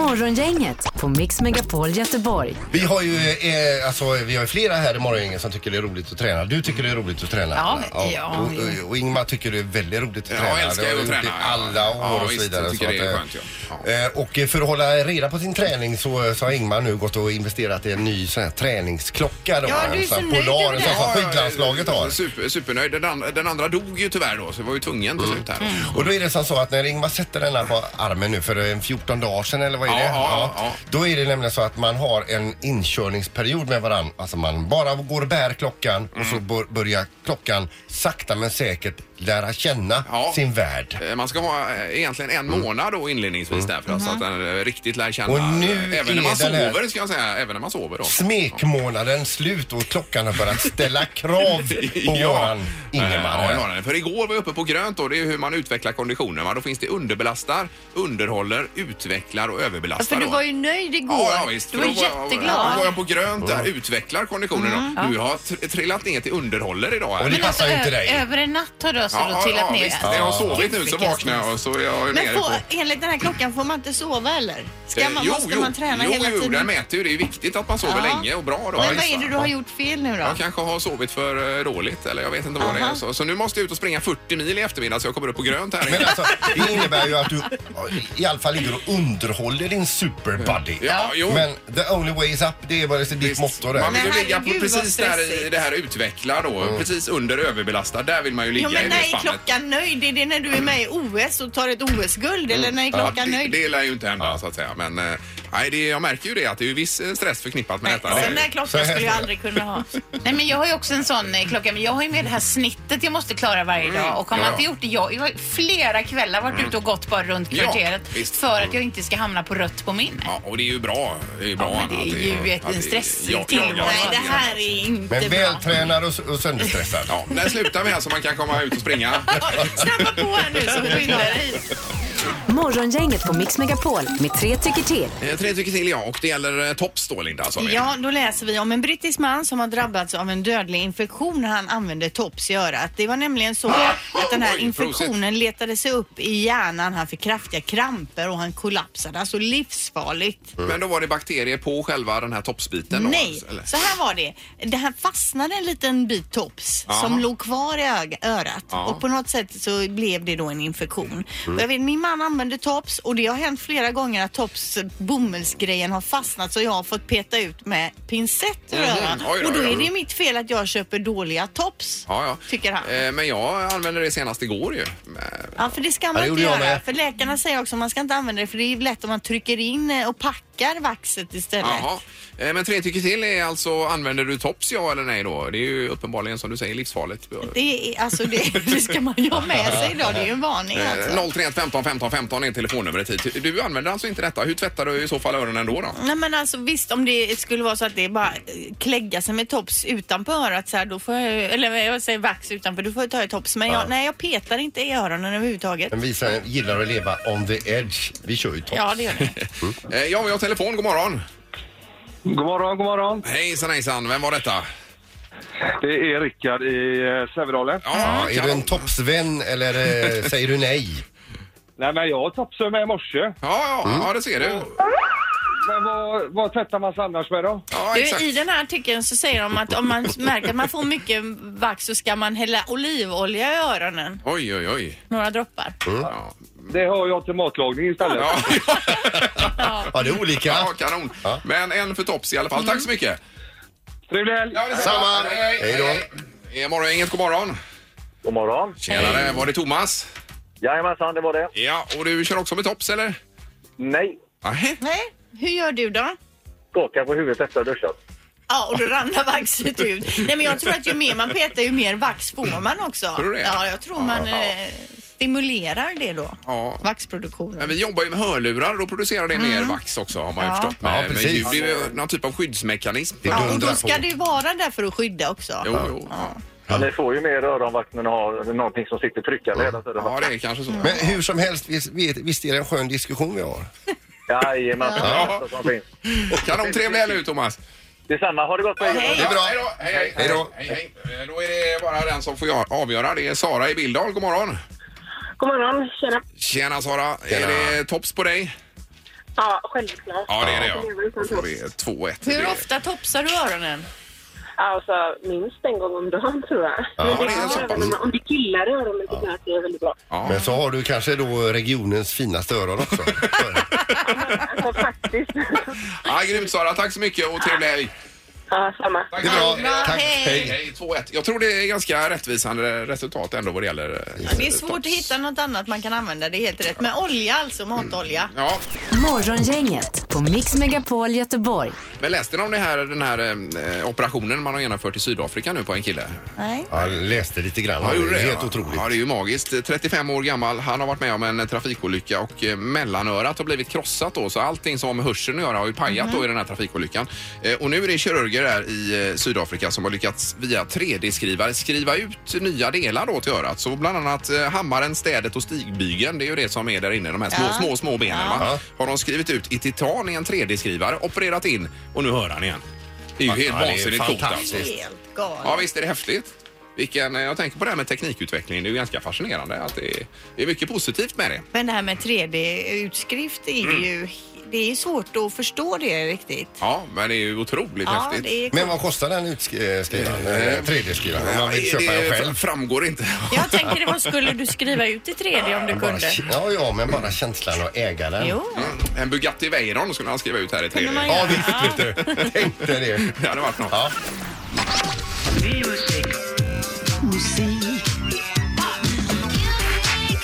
Speaker 4: Morgongänget på Mix Megapol Göteborg.
Speaker 3: Vi har ju eh, alltså, vi har ju flera här i morgongänget som tycker det är roligt att träna. Du tycker det är roligt att träna.
Speaker 7: Ja,
Speaker 3: Anna.
Speaker 7: ja, ja.
Speaker 3: Och, och, och Ingmar tycker det är väldigt roligt att
Speaker 1: Ja,
Speaker 3: träna.
Speaker 1: jag älskar
Speaker 3: Det har
Speaker 1: ju att
Speaker 3: du gjort
Speaker 1: träna,
Speaker 3: i
Speaker 1: ja.
Speaker 3: alla år
Speaker 1: Ja,
Speaker 3: och så
Speaker 1: visst,
Speaker 3: vidare.
Speaker 1: jag tycker
Speaker 3: så
Speaker 1: det är
Speaker 3: eh,
Speaker 1: skönt,
Speaker 3: eh, Och eh, för att hålla reda på sin träning så, så har Ingmar nu gått och investerat i en ny sån här träningsklocka. Då,
Speaker 2: Ja, du är
Speaker 3: en sån här
Speaker 2: så nöjd
Speaker 3: Polar,
Speaker 2: med
Speaker 3: en
Speaker 2: det.
Speaker 3: sån som skidlandslaget har.
Speaker 1: eh, Super, supernöjd. Den, an- den andra dog ju tyvärr då, så jag var ju tvungen
Speaker 3: Mm.
Speaker 1: till slut här.
Speaker 3: Och då är det som så att när Ingmar sätter denna på armen nu för en 14 dagar sedan eller vad är
Speaker 1: Ja,
Speaker 3: det?
Speaker 1: ja, ja.
Speaker 3: Då är det nämligen så att man har en inkörningsperiod med varann. Alltså man bara går och bär klockan och
Speaker 1: Mm.
Speaker 3: så bör- börjar klockan sakta men säkert lära känna
Speaker 1: Ja.
Speaker 3: sin värld.
Speaker 1: Eh, Man ska ha eh, egentligen en månad då inledningsvis därför så att den eh, riktigt lär känna.
Speaker 3: Mm. Och nu
Speaker 1: även när
Speaker 3: är
Speaker 1: man
Speaker 3: den här-
Speaker 1: sover ska jag säga. Även när man sover då.
Speaker 3: Smekmånaden slut och klockan har börjat ställa krav på våran Ingemar.
Speaker 1: Äh, Ja,
Speaker 3: här.
Speaker 1: ja, det. för igår var jag uppe på grönt då. Det är hur man utvecklar konditionen. Va? Då finns det underbelastar, underhåller, utvecklar och
Speaker 2: Ja,
Speaker 1: överbelastar.
Speaker 2: för du
Speaker 1: då.
Speaker 2: var ju nöjd igår.
Speaker 1: Ja, ja, visst.
Speaker 2: Du var
Speaker 1: För då
Speaker 2: jätteglad. Mm.
Speaker 1: Då var jag på grönt där,
Speaker 3: Mm.
Speaker 1: utvecklar konditionen. då. Du har tr- trillat ner till underhåller idag. Här.
Speaker 3: Och det
Speaker 7: Men
Speaker 3: passar ju inte
Speaker 2: Alltså,
Speaker 3: dig.
Speaker 7: ö- Över en natt har du alltså då
Speaker 1: ja,
Speaker 7: trillat ner.
Speaker 1: visst. Jag har sovit nu så
Speaker 7: Vilken
Speaker 1: vaknar jag och så är jag nere
Speaker 2: Men
Speaker 1: på...
Speaker 2: får, enligt den här klockan får man inte sova eller? Ska
Speaker 1: Eh,
Speaker 2: man, måste man träna
Speaker 1: jo,
Speaker 2: hela
Speaker 1: jo,
Speaker 2: tiden?
Speaker 1: den mäter ju. Det är viktigt att man sover
Speaker 2: Ja.
Speaker 1: länge och bra. Då.
Speaker 2: Men vad är det du har gjort fel nu då?
Speaker 1: Jag kanske har sovit för eh, dåligt eller jag vet inte vad det är.
Speaker 2: Aha.
Speaker 1: Så, så nu måste jag ut och springa 40 mil i eftermiddag så jag kommer upp på grönt här.
Speaker 3: Men alltså, det innebär ju att du i alla fall ligger och underhåller din superbody.
Speaker 1: Ja, jo.
Speaker 3: Men the only way is up, det Mm. är bara ditt
Speaker 1: Visst.
Speaker 3: motto där.
Speaker 1: Man vill
Speaker 2: Men
Speaker 1: ju ligga på
Speaker 2: herregud,
Speaker 1: precis
Speaker 2: vad
Speaker 1: där i
Speaker 2: stressigt.
Speaker 1: det här utveckla då. Precis under överbelastad. Där vill man ju ligga
Speaker 2: Jo men
Speaker 1: i
Speaker 2: när
Speaker 1: det
Speaker 2: är
Speaker 1: spannet.
Speaker 2: klockan nöjd? Är det när du är med i OS och tar ett OS-guld eller när är
Speaker 1: Ja,
Speaker 2: klockan
Speaker 1: det,
Speaker 2: nöjd?
Speaker 1: det lär ju inte hända så att säga. Men eh, nej, det, jag märker ju det att det är ju viss eh, stress förknippat med
Speaker 7: Nej,
Speaker 1: detta. Det är
Speaker 7: sån
Speaker 1: ju-
Speaker 7: där
Speaker 3: Så här-
Speaker 7: klockan skulle jag aldrig kunna ha. Nej, men jag har ju också en sån eh, klocka, men jag har ju med det här snittet jag måste klara varje dag. Och har
Speaker 1: Mm. Ja,
Speaker 7: man inte
Speaker 1: ja.
Speaker 7: gjort det, jag jag har ju flera kvällar varit ute och gått bara runt
Speaker 1: Ja,
Speaker 7: kvarteret
Speaker 1: visst.
Speaker 7: för att jag inte ska hamna på rött på min.
Speaker 1: Ja, och det är ju bra. Det är, bra
Speaker 7: men det är
Speaker 1: att
Speaker 7: ju ett-
Speaker 1: att
Speaker 7: en
Speaker 1: det-
Speaker 7: stressig
Speaker 1: ja,
Speaker 7: tillvaro.
Speaker 1: ja,
Speaker 2: Nej
Speaker 1: ja,
Speaker 2: det
Speaker 1: ja.
Speaker 2: här är inte
Speaker 3: Men
Speaker 2: bra.
Speaker 3: vältränad och, och sönderstressad.
Speaker 1: Ja, när slutar vi här så man kan komma ut och springa?
Speaker 2: Snabba på här nu så skyndar dig.
Speaker 4: Morgongänget på Mix Megapol med tre tycker till.
Speaker 1: Eh, Tre tycker till ja, och det gäller eh, tops då Linda. Som är-
Speaker 2: Ja, då läser vi om en brittisk man som har drabbats av en dödlig infektion när han använde tops i örat. Det var nämligen så att den här
Speaker 1: Oj,
Speaker 2: infektionen letade sig upp i hjärnan. Han fick kraftiga kramper och han kollapsade. Alltså livsfarligt.
Speaker 1: Men då var det bakterier på själva den här topsbiten? då, alltså,
Speaker 2: Nej,
Speaker 1: eller?
Speaker 2: så här var det. Det här fastnade en liten bit tops
Speaker 1: Aha.
Speaker 2: som låg kvar i öga, örat
Speaker 1: Ja. Mm.
Speaker 2: och på något sätt så blev det då en infektion. Och jag vet, min man använde tops och det har hänt flera gånger att tops eh, bomullsgrejen har fastnat så jag har fått peta ut med pincett ur
Speaker 1: Mhm.
Speaker 2: örat.
Speaker 1: Oj då,
Speaker 2: Och då
Speaker 1: oj
Speaker 2: är
Speaker 1: då.
Speaker 2: det mitt fel att jag köper dåliga tops,
Speaker 1: Ja, ja.
Speaker 2: tycker han.
Speaker 1: Eh, Men jag använde det senast igår ju. Eh, Men-
Speaker 2: Ja, för det ska
Speaker 3: Ja,
Speaker 2: man
Speaker 3: det
Speaker 2: inte
Speaker 3: gjorde jag
Speaker 2: göra.
Speaker 3: med.
Speaker 2: För läkarna säger också att man ska inte använda det för det är lätt om man trycker in eh, och packar vaxet istället.
Speaker 1: Jaha. Eh, Men tre tycker till är alltså, använder du tops ja eller nej då? Det är ju uppenbarligen som du säger livsfarligt.
Speaker 2: Det, är, alltså det, det ska man ju ha med sig då. Det är ju en varning alltså.
Speaker 1: 031 15 15 15 är telefonnumret hit. Du använder alltså inte detta. Hur tvättar du i så fall öronen då? då?
Speaker 2: Nej men alltså visst om det skulle vara så att det är bara eh, klägga sig med tops utanför örat så här, då får jag ju- eller jag säger vax utanför, då får jag ta ett tops. Men jag, nej jag petar inte i öronen överhuvudtaget.
Speaker 3: Men vi som gillar att leva on the edge, vi kör ju tops.
Speaker 2: Ja det gör det.
Speaker 1: Eh, Ja, vi har telefon. God morgon.
Speaker 10: God morgon, god morgon.
Speaker 1: Hejsan hejsan. Vem var detta?
Speaker 10: Det är Rickard i eh, Sävedalen.
Speaker 3: Ja, är du en topsvän eller eh, säger du nej?
Speaker 10: Nej, men jag topsade med i morse.
Speaker 1: Ja, ja, ja, det ser du.
Speaker 10: Men vad, vad tvättar man sig annars med då?
Speaker 1: Ja, exakt.
Speaker 2: Du, I den här artikeln så säger de att om man märker att man får mycket vax så ska man hälla olivolja i öronen.
Speaker 1: Oj, oj, oj.
Speaker 2: Några droppar.
Speaker 1: Ja,
Speaker 10: Det har jag till matlagning istället.
Speaker 1: ja,
Speaker 3: Ja, det är olika.
Speaker 1: ja kanon. Men en för tops i alla fall.
Speaker 2: Mm.
Speaker 1: Tack så mycket.
Speaker 10: Trevlig helg!
Speaker 1: Ja, det är
Speaker 3: Samma. Hej då.
Speaker 1: Hej då. inget god morgon.
Speaker 10: God morgon.
Speaker 1: Tjenare, var det Thomas?
Speaker 10: Jajamensan, det var det.
Speaker 1: Ja, och du kör också med tops eller?
Speaker 10: Nej,
Speaker 1: Nej.
Speaker 2: Nej, hur gör du då?
Speaker 10: skaka på huvudet efter att ha duschat.
Speaker 2: Ja, och då ramlar vaxet ut. Nej, men jag tror att ju mer man petar, ju mer vax får man också.
Speaker 1: Tror du det?
Speaker 2: Ja, jag tror man
Speaker 1: Ja.
Speaker 2: eh, stimulerar det då.
Speaker 1: Ja. Men
Speaker 2: Vaxproduktionen.
Speaker 1: vi jobbar ju med hörlurar, då producerar det
Speaker 6: Mm.
Speaker 1: mer vax också har man ju
Speaker 2: Ja.
Speaker 1: förstått. Med,
Speaker 3: Ja,
Speaker 1: med
Speaker 3: precis.
Speaker 1: ljud. Det är ju någon typ av skyddsmekanism.
Speaker 3: Det
Speaker 2: Ja, och
Speaker 3: dundrar
Speaker 2: då
Speaker 3: på.
Speaker 2: ska det ju vara där för att skydda också.
Speaker 1: Jo, jo. Ja.
Speaker 10: Ja. Ni får ju mer öronvakt när ni har någonting som sitter tryckande hela tiden.
Speaker 1: ja, det är kanske så.
Speaker 3: Men hur som helst, visst, visst är det en skön diskussion vi har?
Speaker 10: Jajamensan, det är det
Speaker 1: Ja.
Speaker 10: bästa som finns.
Speaker 1: Kanon, trevlig helg nu Thomas.
Speaker 10: Detsamma, ha det gott på er.
Speaker 1: Ja,
Speaker 3: bra.
Speaker 1: Hej då. Hej, hej.
Speaker 3: Hej då.
Speaker 1: Hej, hej. Eh, Då är det bara den som får jag- avgöra. Det är Sara i Billdal. God morgon.
Speaker 11: God morgon, tjena.
Speaker 1: Tjena Sara.
Speaker 3: Tjena.
Speaker 1: Är det tops på dig?
Speaker 11: Ja, självklart.
Speaker 1: Ja, det är det ja.
Speaker 11: är väl
Speaker 1: Då får
Speaker 11: fantastiskt.
Speaker 1: vi 2-1.
Speaker 6: Hur ofta topsar du öronen?
Speaker 11: Alltså, minst en gång om dagen tror jag.
Speaker 3: Ja,
Speaker 11: Men
Speaker 3: det är så pass.
Speaker 11: öronen- Om det killar i öronen tycker jag att det är väldigt bra.
Speaker 3: Men så har du kanske då regionens finaste öron också.
Speaker 11: Alltså,
Speaker 1: Ja, grymt Sara, tack så mycket och trevlig helg.
Speaker 11: Ja, samma.
Speaker 1: Tack, det är bra.
Speaker 6: Tack.
Speaker 1: Hej,
Speaker 6: Hej.
Speaker 1: hej. 2-1. Jag tror det är ganska rättvisande resultat ändå vad det gäller... eh,
Speaker 2: Ja, det är svårt att hitta något annat man kan använda, det är helt rätt. Men olja alltså, matolja.
Speaker 1: Ja.
Speaker 4: Morgongänget på Mix Megapol Göteborg.
Speaker 1: Men läste ni om det här, den här eh, operationen man har genomfört i Sydafrika nu på en kille?
Speaker 2: Nej.
Speaker 3: Ja, jag läste lite grann.
Speaker 1: Ja, gjorde det,
Speaker 3: Helt
Speaker 1: ja.
Speaker 3: otroligt.
Speaker 1: Ja, det är ju magiskt. 35 år gammal. Han har varit med om en eh, trafikolycka och eh, mellanörat har blivit krossat då. Så allting som har med hörseln att göra har ju pajat
Speaker 12: Mhm.
Speaker 1: då i den här trafikolyckan. Eh, Och nu är det kirurger där i eh, Sydafrika som har lyckats via 3D-skrivare skriva ut nya delar då till örat. Så bland annat eh, hammaren, städet och stigbygeln. Det är ju det som är där inne. De här små,
Speaker 12: Ja.
Speaker 1: små, små benen
Speaker 12: Ja.
Speaker 1: va? Har de skrivit ut i titan i en 3D-skrivare, opererat in och nu hör han igen. Det är ju helt
Speaker 3: Ja, det är
Speaker 1: vansinnigt coolt alltså.
Speaker 3: fantastiskt.
Speaker 2: Helt galet.
Speaker 1: Ja, visst är det häftigt. Vilken, eh, jag tänker på det här med teknikutvecklingen. Det är ju ganska fascinerande. Att det, är, det är mycket positivt med det.
Speaker 2: Men det här med 3D-utskrift är
Speaker 1: Mm.
Speaker 2: ju det är ju svårt att förstå det riktigt.
Speaker 1: Ja, men det är ju otroligt
Speaker 2: Ja,
Speaker 1: häftigt.
Speaker 2: det är coolt.
Speaker 3: Men vad kostar den utskrivaren?
Speaker 1: Eh,
Speaker 3: 3D-skrivaren? Om man vill
Speaker 1: Ja,
Speaker 3: köpa
Speaker 1: det
Speaker 3: den själv?
Speaker 1: framgår inte.
Speaker 6: Jag tänker det, vad skulle du skriva ut i 3D om du
Speaker 3: Bara,
Speaker 6: kunde?
Speaker 3: ja, ja, men bara känslan att äga den.
Speaker 6: Jo.
Speaker 1: Mm. En Bugatti Veyron skulle han skriva ut här i 3D.
Speaker 6: man
Speaker 3: Ja, visst vet du. Tänkte det.
Speaker 1: Det hade varit något.
Speaker 3: Ja.
Speaker 4: Musik.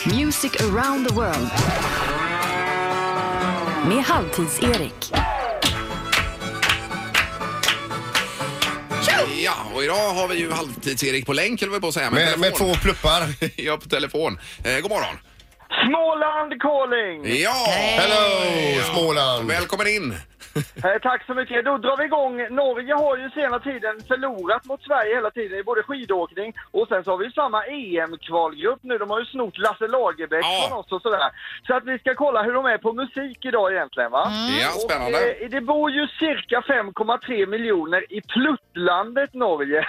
Speaker 4: Music around the world. Med Halvtids-Erik.
Speaker 1: Ja, och idag har vi ju halvtids-Erik på länk, eller vad jag på att säga.
Speaker 3: Med- med två pluppar.
Speaker 1: ja, på telefon. Eh, god morgon.
Speaker 10: Småland calling!
Speaker 1: Ja!
Speaker 3: Hello, Småland!
Speaker 1: Välkommen in!
Speaker 2: Mm.
Speaker 10: Eh, Tack så mycket. Då drar vi igång. Norge har ju sena tiden förlorat mot Sverige hela tiden i både skidåkning och sen så har vi ju samma EM-kvalgrupp nu. De har ju snott Lasse Lagerbäck från oss och sådär. Så att vi ska kolla hur de är på musik idag egentligen va?
Speaker 1: Mm. Ja, spännande.
Speaker 10: Och, eh, det bor ju cirka 5,3 miljoner i Pluttlandet Norge.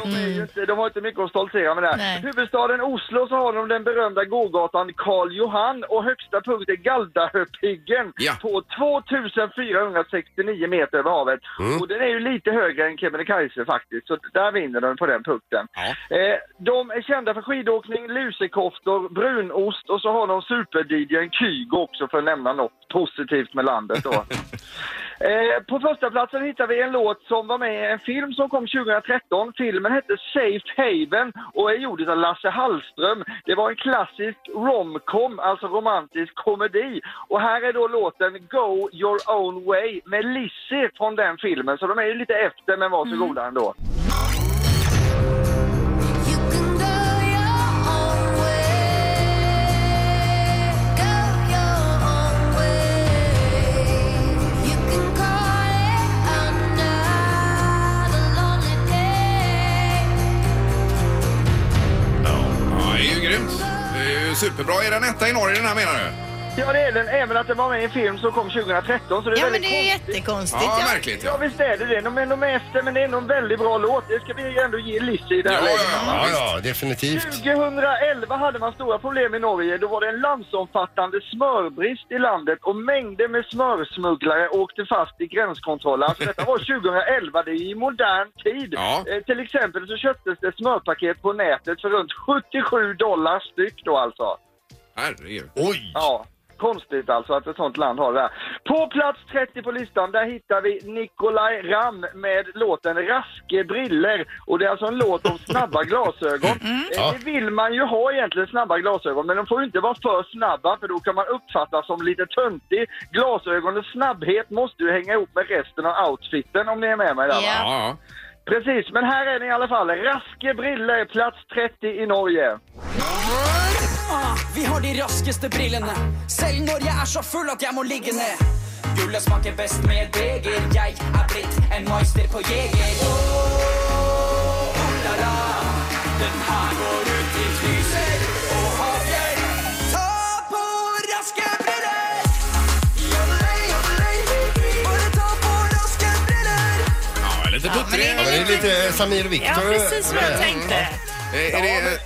Speaker 10: de, är ju inte, de har inte mycket att stoltsera med där. Huvudstaden Oslo så har de den berömda gågatan Karl Johan och högsta punkt är Galdahöpiggen på 2469 meter över havet. Och den är ju lite högre än Kebnekaise faktiskt, så där vinner den på den punkten. Eh, de är kända för skidåkning, lusekoftor, brunost och så har de super-DJn Kygo också för att nämna något positivt med landet då. Eh, på första platsen hittar vi en låt som var med i en film som kom 2013. Filmen hette Safe Haven och är gjord av Lasse Hallström. Det var en klassisk romcom, alltså romantisk komedi. Och här är då låten Go Your Own Way med Lizzie från den filmen. Så de är ju lite efter, men var så
Speaker 3: Mm.
Speaker 10: goda ändå.
Speaker 1: Ja, det är ju grymt. Det är ju superbra. Är den etta i Norge den här menar du?
Speaker 10: Ja, det är den, även att den var med i en film som kom 2013. Så det är
Speaker 2: Ja, men det
Speaker 10: väldigt
Speaker 2: är ju
Speaker 10: konstigt.
Speaker 2: jättekonstigt.
Speaker 1: Ja, ja. verkligt, ja.
Speaker 10: Ja, visst är det det. De är nog med efter, men det är nog en väldigt bra låt. Det ska vi ändå ge Lizzie i det här läget.
Speaker 3: Ja, ja, definitivt.
Speaker 10: 2011 hade man stora problem i Norge. Då var det en landsomfattande smörbrist i landet och mängder med smörsmugglare åkte fast i gränskontrollen. Alltså detta var 2011, det är i modern tid. Eh, till exempel så köptes det smörpaket på nätet för runt 77 dollar styck då alltså.
Speaker 1: Herregud.
Speaker 3: Oj!
Speaker 10: Ja. Konstigt alltså att ett sånt land har det där. På plats 30 på listan, där hittar vi Nikolaj Ram med låten Raske briller. Och det är alltså en låt om snabba glasögon. Eh,
Speaker 3: Ja.
Speaker 10: Det vill man ju ha egentligen, snabba glasögon. Men de får ju inte vara för snabba för då kan man uppfattas som lite töntig. Glasögonens snabbhet måste ju hänga ihop med resten av outfiten om ni är med mig där va?
Speaker 1: Ja.
Speaker 10: Precis, men här är den i alla fall. Raske briller, plats 30 i Norge.
Speaker 13: Ah, vi har de raskeste brillene. Selv når jeg er så full at jeg må ligge ned. Gullet smaker best med deger. Jeg er blitt en meister på jeger. Åh, la-la. Den her går ut i fryser og hager. Ta på raske briller! Joddelei, joddelei. Bare ta på raske briller.
Speaker 1: Ja, lite puttrig.
Speaker 3: Ja, men det är lite eh, Samir Viktor.
Speaker 1: Ja, precis vad jag tänkte. Eh, Är det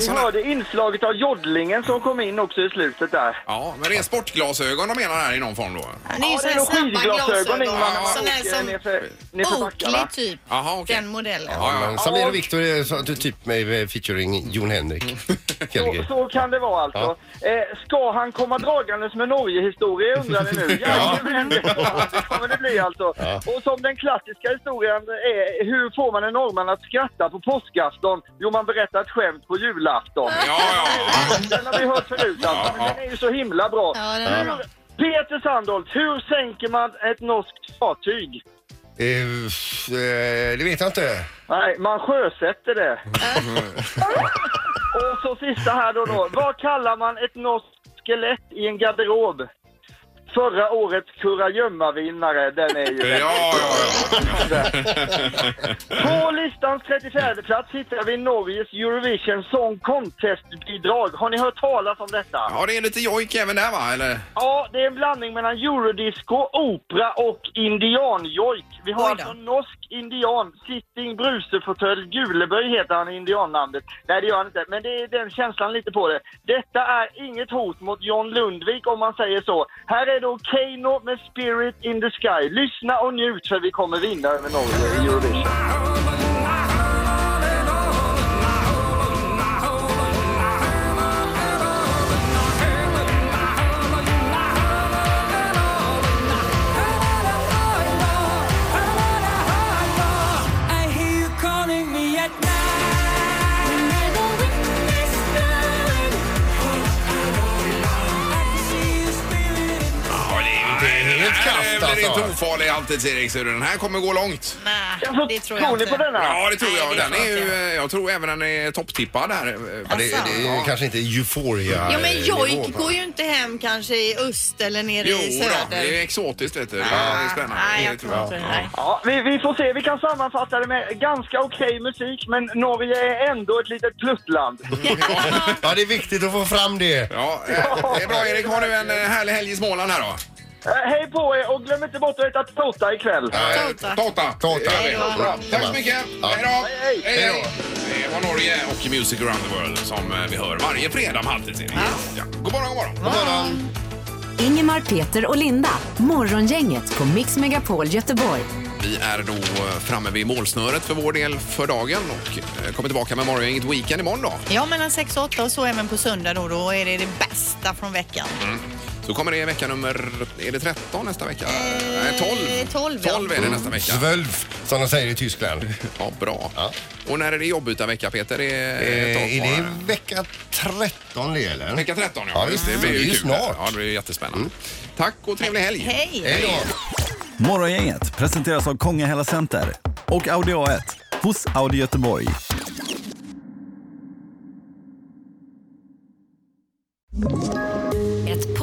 Speaker 10: Vi hörde inslaget av joddlingen som kom in också i slutet där.
Speaker 1: Ja, men det är sportglasögon de menar här i någon form då?
Speaker 10: det är ju Ja, det är såna nog snabba skidglasögon, glasögon. Ingmar, när man
Speaker 2: Sån här
Speaker 10: åker
Speaker 2: som
Speaker 10: nerför-
Speaker 2: Oakley typ.
Speaker 1: Jaha,
Speaker 2: Den modellen.
Speaker 3: Ja, men Samir och Viktor är så- typ med featuring Jon Henrik.
Speaker 10: Så,
Speaker 3: Fjällgren.
Speaker 10: så kan det vara alltså. Eh, ska han komma dragandes med Norge-historia undrar ni nu? Jajamän, det kommer det bli alltså. Och som den klassiska historien är, hur får man en norrman att skratta på påskafton? Jo, man berättar ett skämt på julafton. Ja, ja. Den har vi hört förut alltså, men den är ju så himla bra.
Speaker 3: den är bra.
Speaker 10: Hur- Peter Sandholt, hur sänker man ett norskt fartyg?
Speaker 3: Eh, f- eh, Det vet jag inte.
Speaker 10: Nej, man sjösätter det. Och så sista här då, då. Vad kallar man ett norskt skelett i en garderob? Förra årets kurragömmavinnare, den är ju...
Speaker 1: Ja,
Speaker 10: På listans 34 plats hittar vi Norges Eurovision Song Contest-bidrag. Har ni hört talas om detta?
Speaker 1: Ja, det är lite jojk även där va, eller?
Speaker 10: Ja, det är en blandning mellan eurodisco, opera och indianjojk. Vi har alltså norsk indian, sitting brusefåtölj, Guleböj heter han i indiannamnet. Nej, det gör han inte, men det är den känslan lite på det. Detta är inget hot mot John Lundvik om man säger så. Här är då Keino med Spirit in the Sky. Lyssna och njut för vi kommer vinna över Norge i Eurovision.
Speaker 13: I hear you calling me at night. Never whispering. I can see you spirit in
Speaker 1: Ja, det är inte helt
Speaker 3: kast,
Speaker 1: Det är
Speaker 3: alltså.
Speaker 1: inte ofarlig halvtids-Erik, så den här kommer gå långt.
Speaker 2: Nej, det tror jag
Speaker 10: tror ni
Speaker 2: inte.
Speaker 10: på denna?
Speaker 1: Ja, det tror jag. Den är ju,
Speaker 2: inte.
Speaker 1: eh, jag tror även den är topptippad här.
Speaker 3: Ja, det, det är ju kanske inte euphoria
Speaker 2: Ja, men jojk
Speaker 1: nivå, va?
Speaker 2: går ju inte hem kanske i öst eller nere
Speaker 1: Jo,
Speaker 2: i
Speaker 1: då,
Speaker 2: söder.
Speaker 1: det är exotiskt vet du. Ja, det är spännande.
Speaker 2: nej, jag
Speaker 1: Det
Speaker 2: tror inte det. Nej.
Speaker 10: Ja, vi, vi får se. Vi kan sammanfatta det med ganska okej musik, men Norge är ändå ett litet pluttland.
Speaker 3: Ja, det är viktigt att få fram det.
Speaker 1: Ja, eh, det är bra Erik. Har du en eh, härlig helg i Småland här då?
Speaker 10: Eh, Hej på er och glöm inte bort att äta Tota ikväll.
Speaker 1: Tota. Tota.
Speaker 3: Tårta.
Speaker 1: Hej då. Tack så mycket. Hej då. Hej då. Det var Norge och Music around the world som eh, vi hör varje fredag med halvtidstidning. Ja. God morgon, god morgon.
Speaker 4: Ingemar, Peter och Linda. Morgongänget på Mix Megapol Göteborg.
Speaker 1: Vi är då eh, framme vid målsnöret för vår del för dagen och eh, kommer tillbaka med morgon, inget weekend imorgon då.
Speaker 2: Ja, mellan 6 och 8 och så även på söndag då. Då är det det bästa från veckan.
Speaker 1: Mm. Så kommer det vecka nummer, är det 13 nästa vecka? Nej, 12.
Speaker 2: 12, ja.
Speaker 1: 12 Eh, är Mm. det nästa vecka.
Speaker 3: Zwölf, som de säger i Tyskland.
Speaker 1: Ja, bra. Och när är det jobbytarvecka Peter? Det är,
Speaker 3: Eh, är det
Speaker 1: det
Speaker 3: vecka 13 det eller?
Speaker 1: vecka 13? Ja,
Speaker 3: Ja, visst.
Speaker 1: det blir
Speaker 3: Det är ju
Speaker 1: kul.
Speaker 3: snart. Mm.
Speaker 1: Ja, det blir jättespännande. Tack och trevlig helg.
Speaker 2: Hej!
Speaker 12: Morgongänget presenteras av Konga Hela Center och Audi A1 hos Audi Göteborg.
Speaker 14: Ett